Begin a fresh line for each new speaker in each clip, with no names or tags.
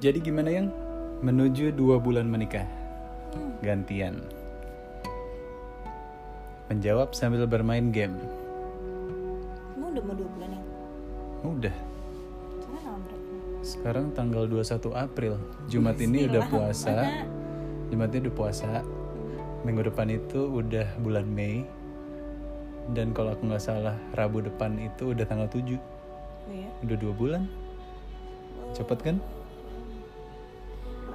Jadi gimana yang menuju dua bulan menikah? Gantian. Menjawab sambil bermain game.
Kamu udah mau dua bulan ya?
Udah.
Sekarang tanggal berapa?
Sekarang tanggal 21 April. Jumat ini udah puasa. Jumat ini udah puasa. Minggu depan itu udah bulan Mei. Dan kalau aku nggak salah, Rabu depan itu udah tanggal 7.
Oh iya.
Udah dua bulan. Cepet kan?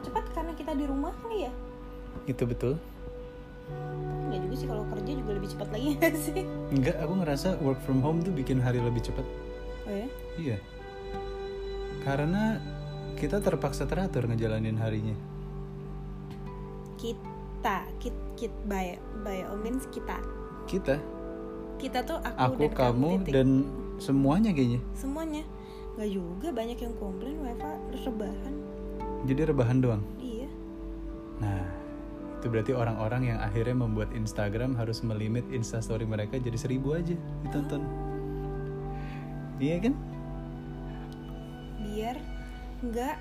Cepat karena kita di rumah kali ya?
Itu betul.
Enggak juga sih kalau kerja juga lebih cepat lagi nggak sih?
Enggak, aku ngerasa work from home tuh bikin hari lebih cepat.
Oh iya.
Iya. Karena kita terpaksa teratur ngejalanin harinya.
Kita, kit kit by by all means kita.
Kita,
Kita tuh aku,
aku,
dan
kamu,
titik.
dan semuanya kayaknya.
semuanya. Gak juga banyak yang komplain WFA rebahan.
Jadi rebahan doang.
Iya.
Nah, itu berarti orang-orang yang akhirnya membuat Instagram harus melimit instastory mereka jadi seribu aja ditonton. Iya kan?
Biar nggak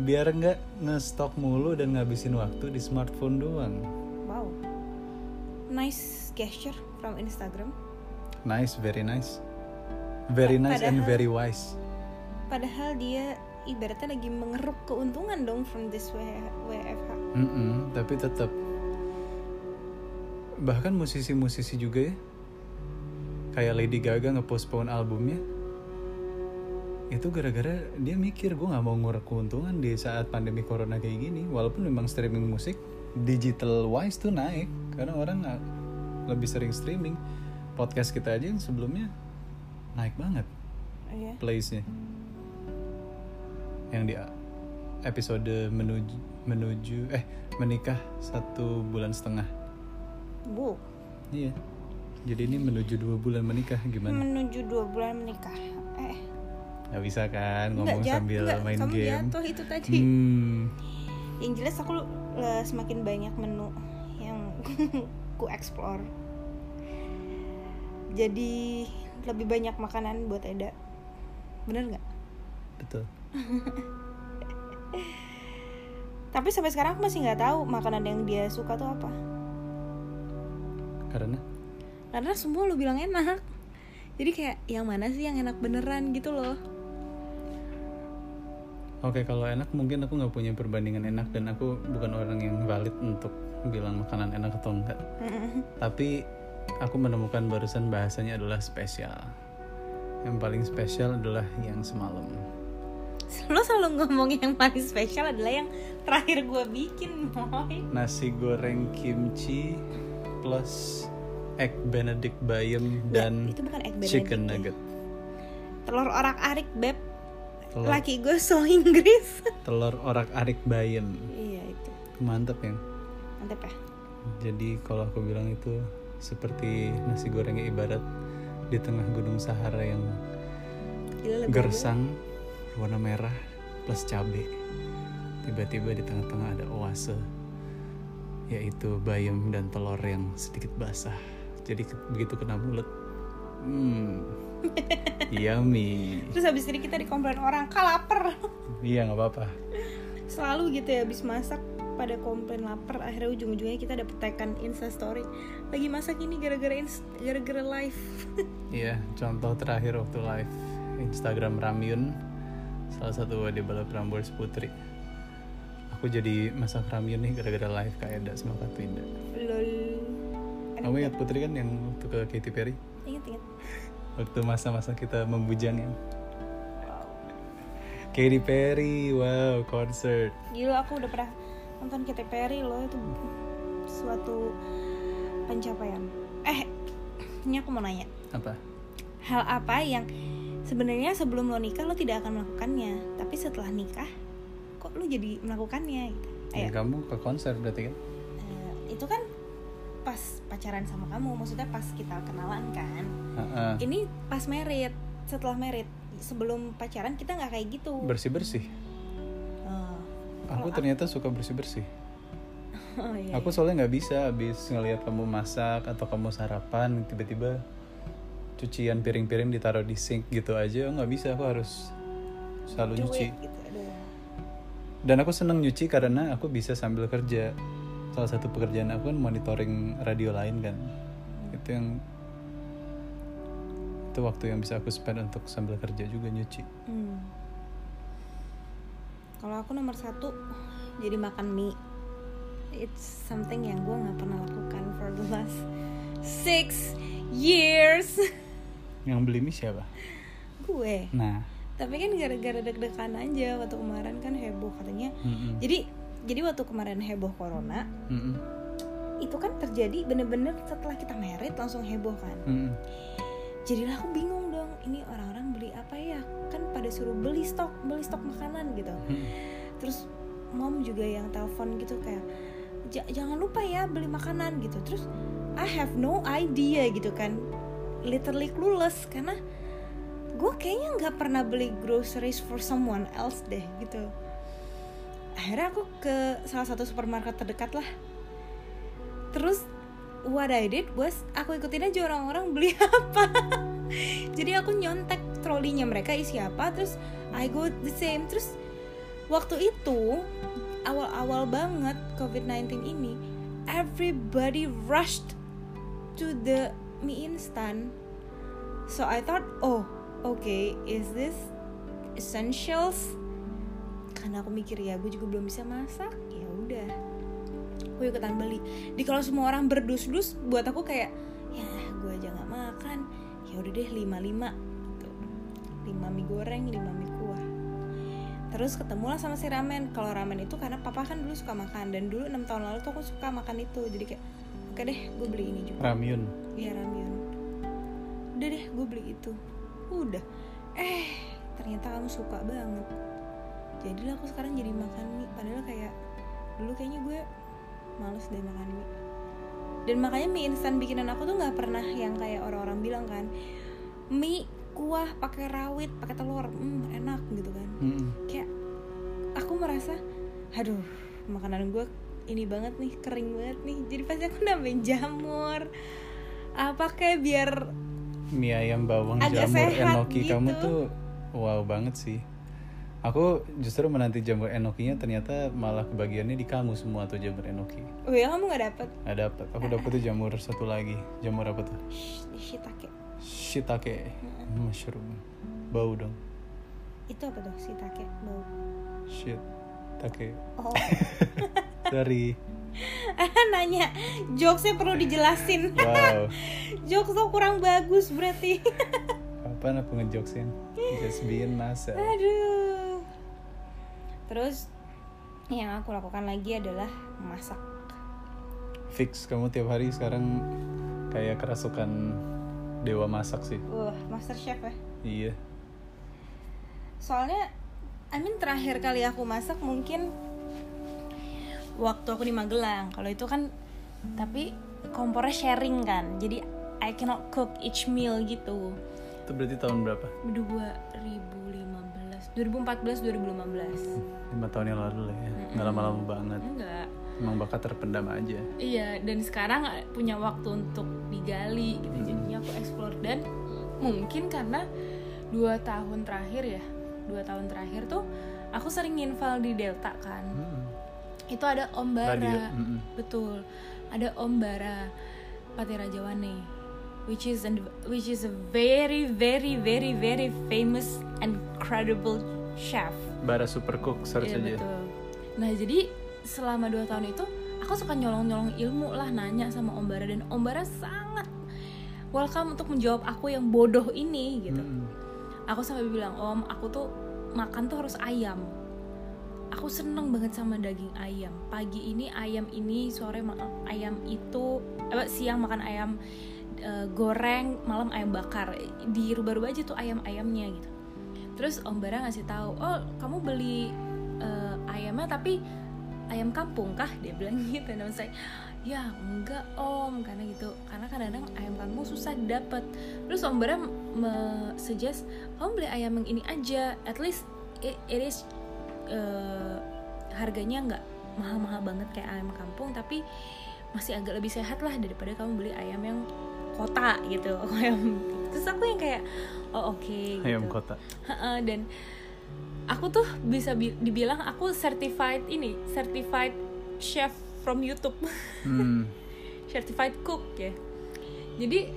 Biar nggak ngestok mulu dan ngabisin waktu di smartphone doang.
wow. Nice gesture from Instagram.
Nice, very nice. Very nice and
Padahal-
very wise.
Padahal dia ibaratnya lagi mengeruk keuntungan dong from this WFH.
Mm-mm, tapi tetap bahkan musisi-musisi juga ya kayak Lady Gaga ngepostpone albumnya itu gara-gara dia mikir gue nggak mau ngurek keuntungan di saat pandemi corona kayak gini walaupun memang streaming musik digital wise tuh naik karena orang nggak lebih sering streaming podcast kita aja yang sebelumnya naik banget
Iya.
place-nya yang di episode menuju menuju eh menikah satu bulan setengah
Bu,
iya jadi ini menuju dua bulan menikah gimana
menuju dua bulan menikah. Eh,
nggak bisa kan
nggak
ngomong
jat-
sambil
nggak,
main
kamu
game
jatuh itu tadi.
hmm
Yang jelas aku eh, semakin banyak menu yang ku explore. Jadi lebih banyak makanan buat Eda. Bener nggak?
betul
Tapi sampai sekarang aku masih nggak tahu makanan yang dia suka tuh apa.
karena
Karena semua lu bilang enak. Jadi kayak yang mana sih yang enak beneran gitu loh.
oke kalau enak mungkin aku nggak punya perbandingan enak dan aku bukan orang yang valid untuk bilang makanan enak atau enggak tapi aku menemukan barusan bahasanya adalah spesial yang paling spesial adalah yang semalam
Lo selalu ngomong yang paling spesial adalah yang terakhir gue bikin, Moy.
nasi goreng kimchi plus egg benedict bayam dan
itu bukan egg benedict
chicken
ya.
nugget
Telur orak arik, Beb.
Telur.
Laki gue so Inggris.
telur orak arik bayam
iya, itu.
mantep ya
Mantep ya.
jadi kalau aku bilang itu seperti nasi gorengnya ibarat di tengah gunung sahara yang
Gila lebih
gersang warna merah plus cabe tiba-tiba di tengah-tengah ada oase yaitu bayam dan telur yang sedikit basah jadi ke- begitu kena mulut hmm yummy
Terus habis ini kita dikomplain orang, kak lapar.
iya nggak apa-apa
Selalu gitu ya, habis masak pada komplain lapar akhirnya ujung-ujungnya kita dapet tekan insta story lagi masak ini gara-gara inst- gara-gara live
iya contoh terakhir waktu live Instagram Ramyun salah satu di balap Prambors Putri aku jadi masak ramyun nih gara-gara live kayak ada sama Kak Twinda
lol
kamu ingat Putri kan yang waktu ke Katy Perry
inget inget
waktu masa-masa kita membujang ya. Katy Perry, wow, concert.
Gila aku udah pernah nonton Katy Perry loh itu suatu pencapaian. Eh, ini aku mau nanya.
Apa?
Hal apa yang sebenarnya sebelum lo nikah lo tidak akan melakukannya, tapi setelah nikah kok lo jadi melakukannya gitu.
Ya,
Ayo.
kamu ke konser berarti kan?
Eh, itu kan pas pacaran sama kamu, maksudnya pas kita kenalan kan.
Heeh.
Ini pas merit, setelah merit. Sebelum pacaran kita nggak kayak gitu.
Bersih-bersih.
Eh,
Aku ternyata suka bersih-bersih.
oh iya.
Aku soalnya nggak bisa habis ngelihat kamu masak atau kamu sarapan tiba-tiba cucian piring-piring ditaruh di sink gitu aja nggak bisa aku harus selalu
Cuek
nyuci
gitu. Aduh.
dan aku seneng nyuci karena aku bisa sambil kerja salah satu pekerjaan aku kan monitoring radio lain kan itu yang itu waktu yang bisa aku spend untuk sambil kerja juga nyuci
Hmm. Kalau aku nomor satu jadi makan mie. It's something yang gue nggak pernah lakukan for the last six years.
yang beli mie siapa
gue.
nah
Tapi kan gara-gara deg-degan aja waktu kemarin kan heboh katanya.
mm-mm,
Jadi jadi waktu kemarin heboh corona
mm-mm,
itu kan terjadi bener-bener setelah kita merit langsung heboh kan.
mm-mm.
jadilah aku bingung dong ini orang-orang beli apa ya kan pada suruh beli stok beli stok makanan gitu
Hmm.
terus mom juga yang telepon gitu kayak "Ja- jangan lupa ya beli makanan gitu terus I have no idea gitu kan literally clueless karena gue kayaknya nggak pernah beli groceries for someone else deh gitu akhirnya aku ke salah satu supermarket terdekat lah terus what I did was aku ikutin aja orang-orang beli apa jadi aku nyontek trolinya mereka isi apa terus I go the same terus waktu itu awal-awal banget COVID-19 ini everybody rushed to the mie instan so I thought oh okay is this essentials karena aku mikir ya gue juga belum bisa masak ya udah gue ikutan beli di kalau semua orang berdus-dus buat aku kayak ya gue aja nggak makan ya udah deh lima lima gitu. lima mie goreng lima mie kuah terus ketemulah sama si ramen kalau ramen itu karena papa kan dulu suka makan dan dulu enam tahun lalu tuh aku suka makan itu jadi kayak oke deh gue beli ini juga
ramyun
Iya ramyun Udah deh gue beli itu Udah Eh ternyata kamu suka banget Jadilah aku sekarang jadi makan mie Padahal kayak dulu kayaknya gue males deh makan mie Dan makanya mie instan bikinan aku tuh gak pernah yang kayak orang-orang bilang kan Mie kuah pakai rawit pakai telur hmm, enak gitu kan
Mm-mm.
kayak aku merasa aduh makanan gue ini banget nih kering banget nih jadi pasti aku nambahin jamur apa kayak biar
mie ayam bawang
Agak
jamur
sehat
enoki kamu
gitu.
tuh wow banget sih aku justru menanti jamur enokinya ternyata malah kebagiannya di kamu semua tuh jamur enoki
oh ya kamu nggak dapet
nggak dapet aku
Nah.
dapet tuh jamur satu lagi jamur apa tuh
Shh, shiitake
shiitake mushroom bau dong
itu apa tuh shiitake bau
shiitake
oh
dari
nanya jokesnya perlu dijelasin
wow
jokes lo kurang bagus berarti
kapan aku ngejoksin just being ya. myself
aduh terus yang aku lakukan lagi adalah masak
fix kamu tiap hari sekarang kayak kerasukan dewa masak sih
wah master chef ya
iya
soalnya I mean terakhir kali aku masak mungkin waktu aku di Magelang kalau itu kan tapi kompornya sharing kan jadi I cannot cook each meal gitu
itu berarti tahun berapa
2015 2014 2015
lima tahun yang lalu lah ya nggak lama-lama banget
enggak
emang bakat terpendam aja
iya dan sekarang nggak punya waktu untuk digali gitu jadinya aku explore dan mungkin karena dua tahun terakhir ya dua tahun terakhir tuh aku sering infal di Delta kan itu ada Om Bara
Radio, mm-mm.
betul ada Om Bara Patirajawane which is an, which is a very very very very famous and credible chef
bara super cook search
Iya,
aja
betul nah jadi selama dua tahun itu aku suka nyolong nyolong ilmu lah nanya sama Om Bara dan Om Bara sangat welcome untuk menjawab aku yang bodoh ini gitu
Mm.
aku sampai bilang om aku tuh makan tuh harus ayam aku seneng banget sama daging ayam pagi ini ayam ini sore ma- ayam itu eh, siang makan ayam eh, goreng malam ayam bakar dirubah-rubah aja tuh ayam ayamnya gitu terus om bara ngasih tahu oh kamu beli eh, ayamnya tapi ayam kampung kah dia bilang gitu dan saya ya enggak om karena gitu karena kadang-kadang ayam kampung susah dapet terus om bara me- suggest kamu beli ayam yang ini aja at least it, it is eh, harganya nggak mahal-mahal banget kayak ayam kampung tapi masih agak lebih sehat lah daripada kamu beli ayam yang kota gitu ayam terus aku yang kayak oh oke
ayam
gitu.
kota
Heeh, dan aku tuh bisa bi- dibilang aku certified ini certified chef from YouTube
Hmm.
certified cook ya jadi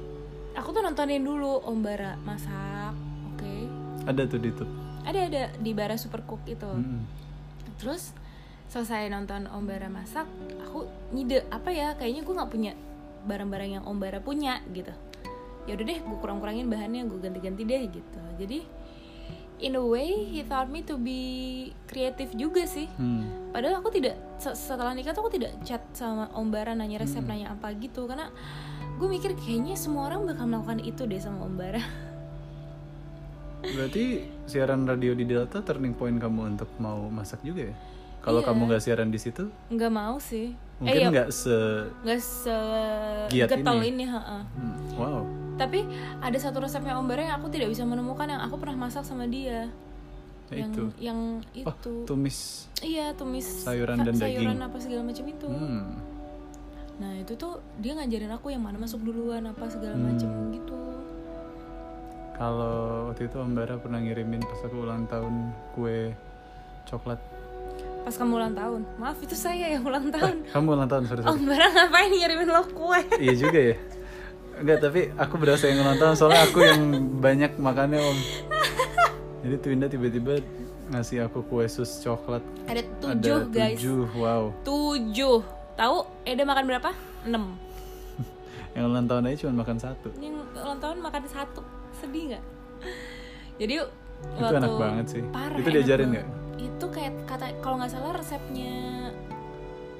aku tuh nontonin dulu Om Bara masak oke
Ada tuh di YouTube.
ada ada di Bara Super Cook itu
Hmm.
terus selesai nonton Om Bara masak aku nyide apa ya kayaknya gue nggak punya barang-barang yang Om Bara punya gitu ya udah deh gue kurang-kurangin bahannya gue ganti-ganti deh gitu jadi in a way he taught me to be kreatif juga sih
Hmm.
padahal aku tidak se- setelah nikah tuh aku tidak chat sama Om Bara nanya resep
Hmm.
nanya apa gitu karena gue mikir kayaknya semua orang bakal melakukan itu deh sama Om Bara
Berarti siaran radio di Delta turning point kamu untuk mau masak juga ya? Kalau
Iya.
kamu nggak siaran di situ,
nggak mau sih eh ya
mungkin nggak se
nggak se
Giat
getol
ini.
ini, heeh.
Hmm, wow.
tapi ada satu resepnya Om Bara yang aku tidak bisa menemukan yang aku pernah masak sama dia
Ya
yang
itu.
yang
Oh,
itu
tumis.
iya tumis
Sayuran
sa-
dan
sayuran
daging.
apa segala macam itu
Hmm.
nah itu tuh dia ngajarin aku yang mana masuk duluan apa segala
Hmm.
macam gitu
Kalau waktu itu Om Bara pernah ngirimin pas aku ulang tahun kue coklat.
pas kamu ulang tahun maaf itu saya yang
Eh,
ulang tahun
Kamu ulang tahun sorry, sorry.
Om Bara ngapain nyirimin lo kue?
Iya juga ya. Enggak, tapi aku berasa yang ulang tahun soalnya aku yang banyak makannya Om. Jadi Twinda tiba-tiba ngasih aku kue sus coklat.
Ada tujuh
Ada
guys. Tujuh.
tujuh, wow.
Tahu Eda makan berapa? 6
Yang ulang tahun aja cuma makan satu.
Yang ulang tahun makan satu. Sedih nggak? Jadi
Itu enak banget sih.
Parah,
Itu
enak
diajarin
banget.
nggak?
Itu kayak kata kalau nggak salah resepnya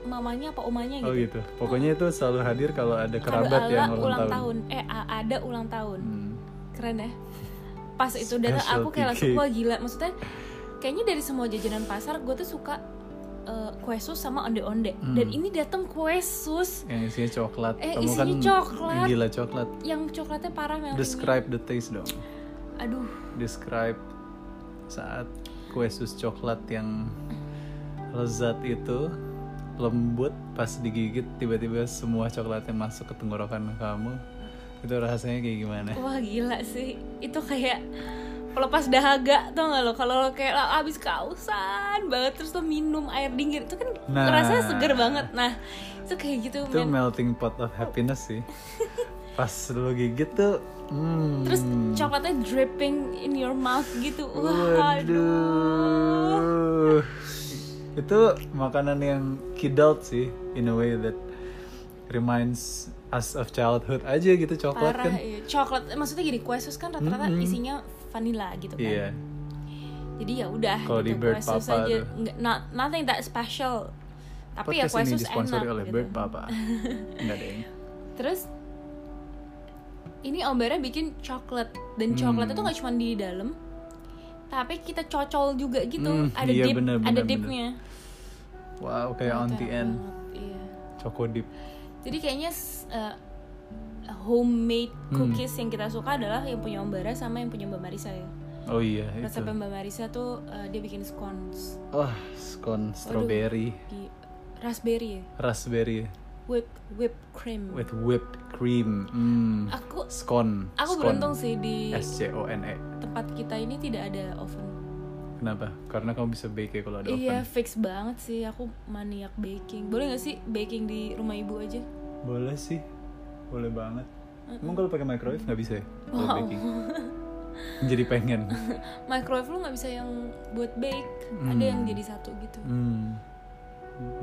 mamanya apa omanya
Oh
gitu.
gitu. Pokoknya itu selalu hadir kalau ada
Kado
kerabat ya,
ala
yang ulang,
ulang
tahun.
tahun. Eh a- ada ulang tahun.
Hmm.
Keren ya. Pas itu datang
Special
aku kayak langsung
ticket.
wah gila. Maksudnya kayaknya dari semua jajanan pasar gue tuh suka eh, kue sus sama onde-onde. Dan
Hmm.
ini datang kue sus
Yang isinya coklat.
Eh,
Kamu
isinya
kan
coklat.
gila coklat.
yang coklatnya parah melting.
Describe the taste dong.
Aduh,
Describe saat kue sus coklat yang lezat itu lembut pas digigit tiba-tiba semua coklatnya masuk ke tenggorokan kamu itu rasanya kayak gimana?
wah gila sih. Itu kayak pelepas dahaga tau gak lo kalau lo kayak lo abis kausan banget terus lo minum air dingin itu kan
Nah.
rasanya seger banget nah itu kayak gitu
Itu
men.
melting pot of happiness sih. Pas lo gigit tuh, hmm.
terus coklatnya dripping in your mouth gitu wah aduh
Waduh. Itu makanan yang kidult sih in a way that reminds us of childhood aja gitu coklat
parah
kan.
iya. coklat eh, maksudnya gini kue sus kan rata-rata
Mm-mm.
isinya vanilla gitu kan
Iya.
jadi ya udah
Kalau di Bird
kue sus
Papa
aja
tuh.
nggak not, nothing that special tapi
Podcast
ya kue
ini
sus
disponsori
enak
oleh
gitu.
Bird Papa. Enggak deh.
terus ini Om Bara bikin coklat dan
Hmm.
coklatnya tuh nggak cuma di dalam tapi kita cocol juga gitu
Hmm,
ada
iya,
dip
bener,
ada
bener, bener.
dipnya
Wow, kayak
Wah,
on
itu
the
enak
end.
banget, iya.
Choco dip.
Jadi kayaknya s- eh, homemade
Hmm.
cookies yang kita suka adalah yang punya Om Bara sama yang punya Mbak Marisa ya.
Oh iya, itu.
Resep Mbak Marisa tuh eh, dia bikin scones
Wah, scone strawberry,
di raspberry ya,
raspberry
whip whip cream.
with whipped cream. Hmm.
Aku
Scone. scone.
aku beruntung sih di
S C O N E.
tempat kita ini tidak ada oven.
Kenapa? Karena kamu bisa bake ya kalau ada oven.
Iya fix banget sih aku maniak baking. Boleh gak sih baking di rumah ibu aja?
Boleh sih, boleh banget. Emang kalau pakai microwave nggak bisa ya? Kalau
Wow.
baking? Jadi pengen.
Microwave lu nggak bisa yang buat bake, ada
Hmm.
yang jadi satu gitu.
Hmm.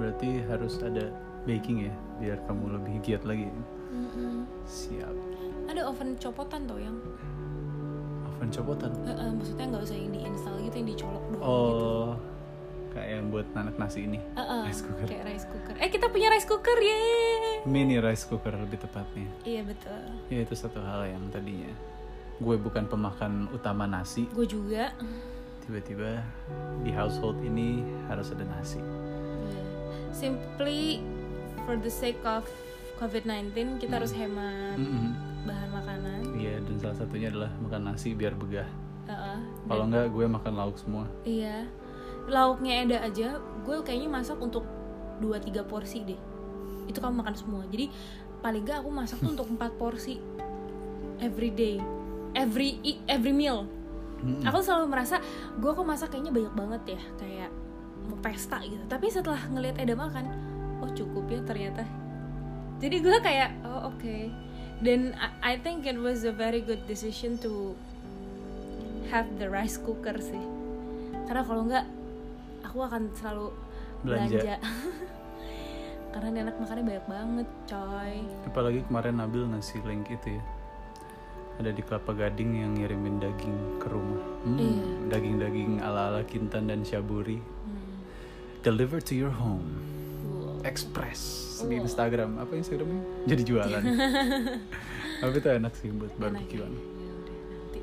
Berarti harus ada baking ya, biar kamu lebih giat lagi.
Mm-mm.
Siap.
Ada oven copotan tau yang
Oven copotan.
Eh, eh, maksudnya nggak usah yang diinstal gitu yang dicolok doang gitu.
Oh, kayak yang buat nanak nasi ini.
Eh, eh,
rice cooker.
Kayak rice cooker. Eh kita punya rice cooker ye.
Mini rice cooker lebih tepatnya.
Iya betul.
Ya itu satu hal yang tadinya gue bukan pemakan utama nasi,
Gue juga.
tiba-tiba di household ini harus ada nasi.
Simply for the sake of COVID-19
Hmm.
kita harus hemat
Mm-mm.
bahan makanan.
Iya, dan salah satunya adalah makan nasi biar begah.
Eh, eh, dan-
Kalau enggak, gue makan lauk semua.
Iya. Lauknya ada aja. Gue kayaknya masak untuk 2-3 porsi deh. Itu kamu makan semua. Jadi paling nggak aku masak tuh untuk 4 porsi every day. Every every meal.
Mm-mm.
aku selalu merasa gue kok masak kayaknya banyak banget ya kayak mau pesta gitu tapi setelah ngelihat Eda makan oh cukup ya ternyata jadi gue kayak oh oke dan I, I think it was a very good decision to have the rice cooker sih karena kalau enggak aku akan selalu
Belanja.
belanja, karena ini anak makannya banyak banget coy
Apalagi kemarin Nabil ngasih link itu ya. Ada di Kelapa Gading yang ngirimin daging ke rumah. Hmm,
Iya.
Daging-daging ala-ala Kintan dan Syaburi.
Hmm.
Deliver to your home.
Wow.
Express di
Wow.
Instagram. Apa Instagramnya? Jadi jualan. Tapi itu enak sih buat
Enak ya?
barbekyuan.
Ya udah, nanti.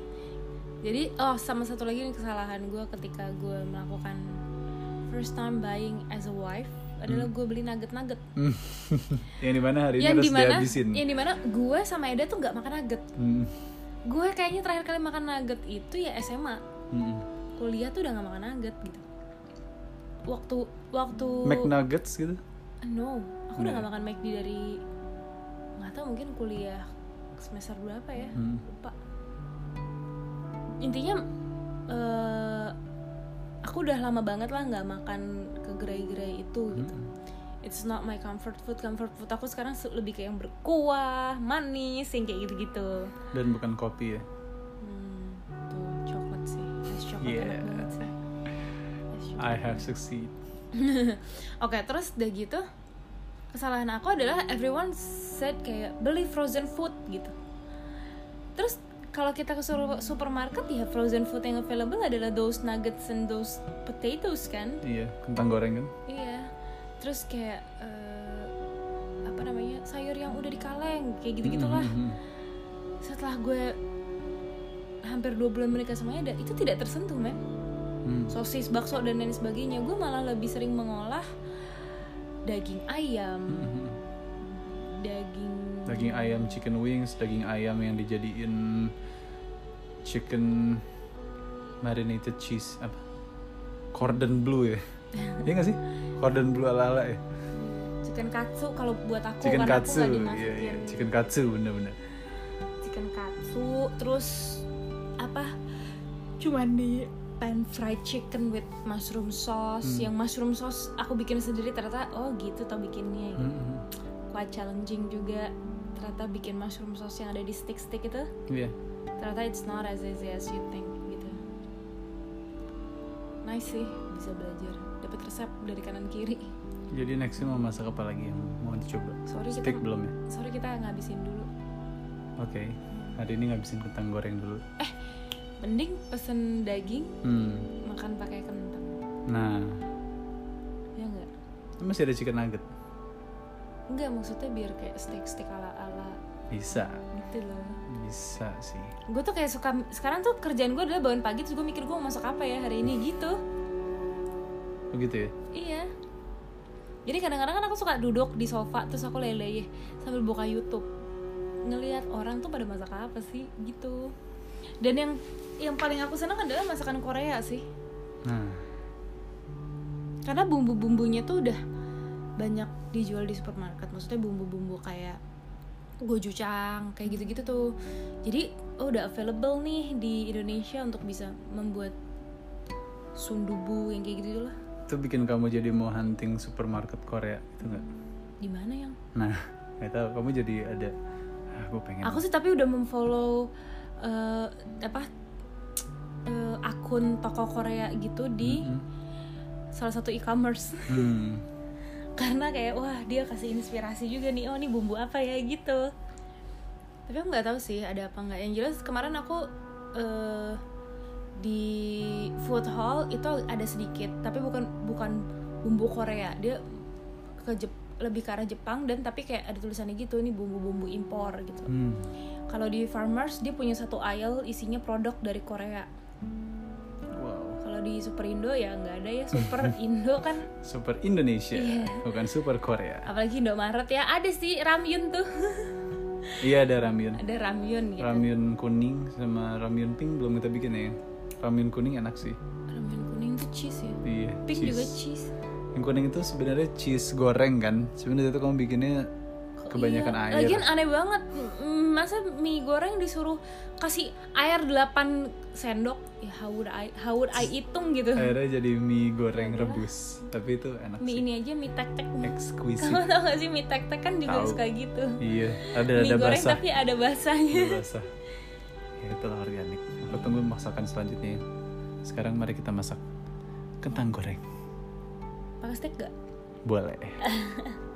Jadi oh sama satu lagi nih kesalahan gue ketika gue melakukan first time buying as a wife adalah gue beli nugget-nugget.
Hmm. yang di mana hari ini
Yang
Hmm. harus
dimana
dihabisin.
yang dimana gue sama Eda tuh nggak makan nugget.
Hmm,
Gue kayaknya terakhir kali makan nugget itu ya SMA.
hmm.
Kuliah tuh udah nggak makan nugget gitu. Waktu waktu
McNuggets gitu.
no, aku udah nggak
Nggak.
makan McD dari nggak tahu mungkin kuliah semester berapa ya
Hmm.
lupa intinya eh, aku udah lama banget lah nggak makan ke gerai-gerai itu gitu it's not my comfort food comfort food aku sekarang se- lebih kayak yang berkuah manis yang kayak gitu-gitu
Dan bukan kopi ya.
hmm, tuh coklat sih es coklat
Yeah.
enak banget sih Es coklat.
I have succeed.
Oke, terus udah gitu kesalahan aku adalah everyone said kayak beli frozen food gitu. Terus kalau kita ke sur- supermarket ya frozen food yang available adalah those nuggets and those potatoes kan?
Iya, kentang goreng kan.
Iya. Terus kayak eh, apa namanya sayur yang udah dikaleng kayak gitu gitulah.
Hmm, hmm, hmm.
Setelah gue hampir dua bulan menikah sama Eda itu tidak tersentuh men
Hmm.
sosis, bakso dan lain sebagainya. Gue malah lebih sering mengolah daging ayam,
Hmm, hmm.
daging
daging ayam chicken wings daging ayam yang dijadiin chicken marinated cheese apa cordon bleu ya iya nggak sih cordon bleu ala ala ya
chicken katsu kalau buat aku
chicken
karena
katsu
aku nggak
iya
dimasukin
iya chicken katsu bener bener
Chicken katsu, terus apa? Cuman di pan fried chicken with mushroom sauce.
Hmm.
Yang mushroom sauce aku bikin sendiri ternyata oh gitu tau bikinnya. gitu.
Mm-mm.
Quite challenging juga ternyata bikin mushroom sauce yang ada di stick-stick itu
iya
ternyata it's not as easy as you think gitu nice sih bisa belajar dapat resep dari kanan kiri
jadi next mau masak apa lagi yang mau dicoba
sorry kita
steak belum ya
sorry kita ngabisin dulu
oke hari ini ngabisin kentang goreng dulu
mending pesen daging
hmm
makan pakai kentang
nah
ya enggak
masih ada chicken nugget
enggak maksudnya biar kayak steak steak ala ala
bisa
gitu loh
bisa sih
gue tuh kayak suka sekarang tuh kerjaan gue adalah bangun pagi terus gue mikir gue mau masak apa ya hari ini gitu
begitu ya
iya jadi kadang-kadang kan aku suka duduk di sofa terus aku leleh sambil buka YouTube ngelihat orang tuh pada masak apa sih gitu dan yang yang paling aku senang adalah masakan Korea sih
nah
karena bumbu-bumbunya tuh udah banyak dijual di supermarket maksudnya bumbu-bumbu kayak gochujang kayak gitu-gitu tuh jadi oh, udah available nih di Indonesia untuk bisa membuat sundubu yang kayak gitu lah
itu bikin kamu jadi mau hunting supermarket Korea itu nggak
di mana yang
nah nggak tahu kamu jadi ada ah, gue pengen
Aku sih tapi udah memfollow eh, apa eh, akun toko Korea gitu di
Mm-mm.
salah satu e-commerce
hmm.
karena kayak wah dia kasih inspirasi juga nih oh ini bumbu apa ya gitu. Tapi aku nggak tahu sih ada apa nggak. Yang jelas kemarin aku eh, di food hall itu ada sedikit tapi bukan bukan bumbu Korea dia ke Jep- lebih ke arah Jepang dan tapi kayak ada tulisannya gitu ini bumbu-bumbu impor gitu.
Hmm.
Kalau di Farmers dia punya satu aisle isinya produk dari Korea.
wow
Kalau di Superindo ya nggak ada ya Super Indo kan,
super Indonesia
Iya.
bukan super Korea
apalagi Indomaret ya ada sih ramyun tuh.
iya ada ramyun
ada ramyun gitu.
ramyun kuning sama ramyun pink belum kita bikin ya ramyun kuning enak sih
Ramyun kuning tuh cheese ya.
iya
Pink
cheese.
juga cheese.
yang kuning itu sebenarnya cheese goreng kan sebenarnya itu kamu bikinnya kebanyakan
Iya.
air.
Lagian aneh banget. Mm, Masa mie goreng disuruh kasih air 8 sendok? Ya how would I, how would I hitung gitu.
Akhirnya jadi mie goreng rebus. Tapi itu enak
Mie
sih.
ini aja mie
Eh,
tek-tek. Kamu
Exquisite.
tau gak sih mie tek-tek kan juga
Tahu.
suka gitu.
iya, ada
Mie
ada
goreng
basah.
tapi ada basahnya.
Ada basah. Ya, itulah organik. Aku tunggu masakan selanjutnya. ya. Sekarang mari kita masak kentang goreng.
Pakai steak gak?
Boleh.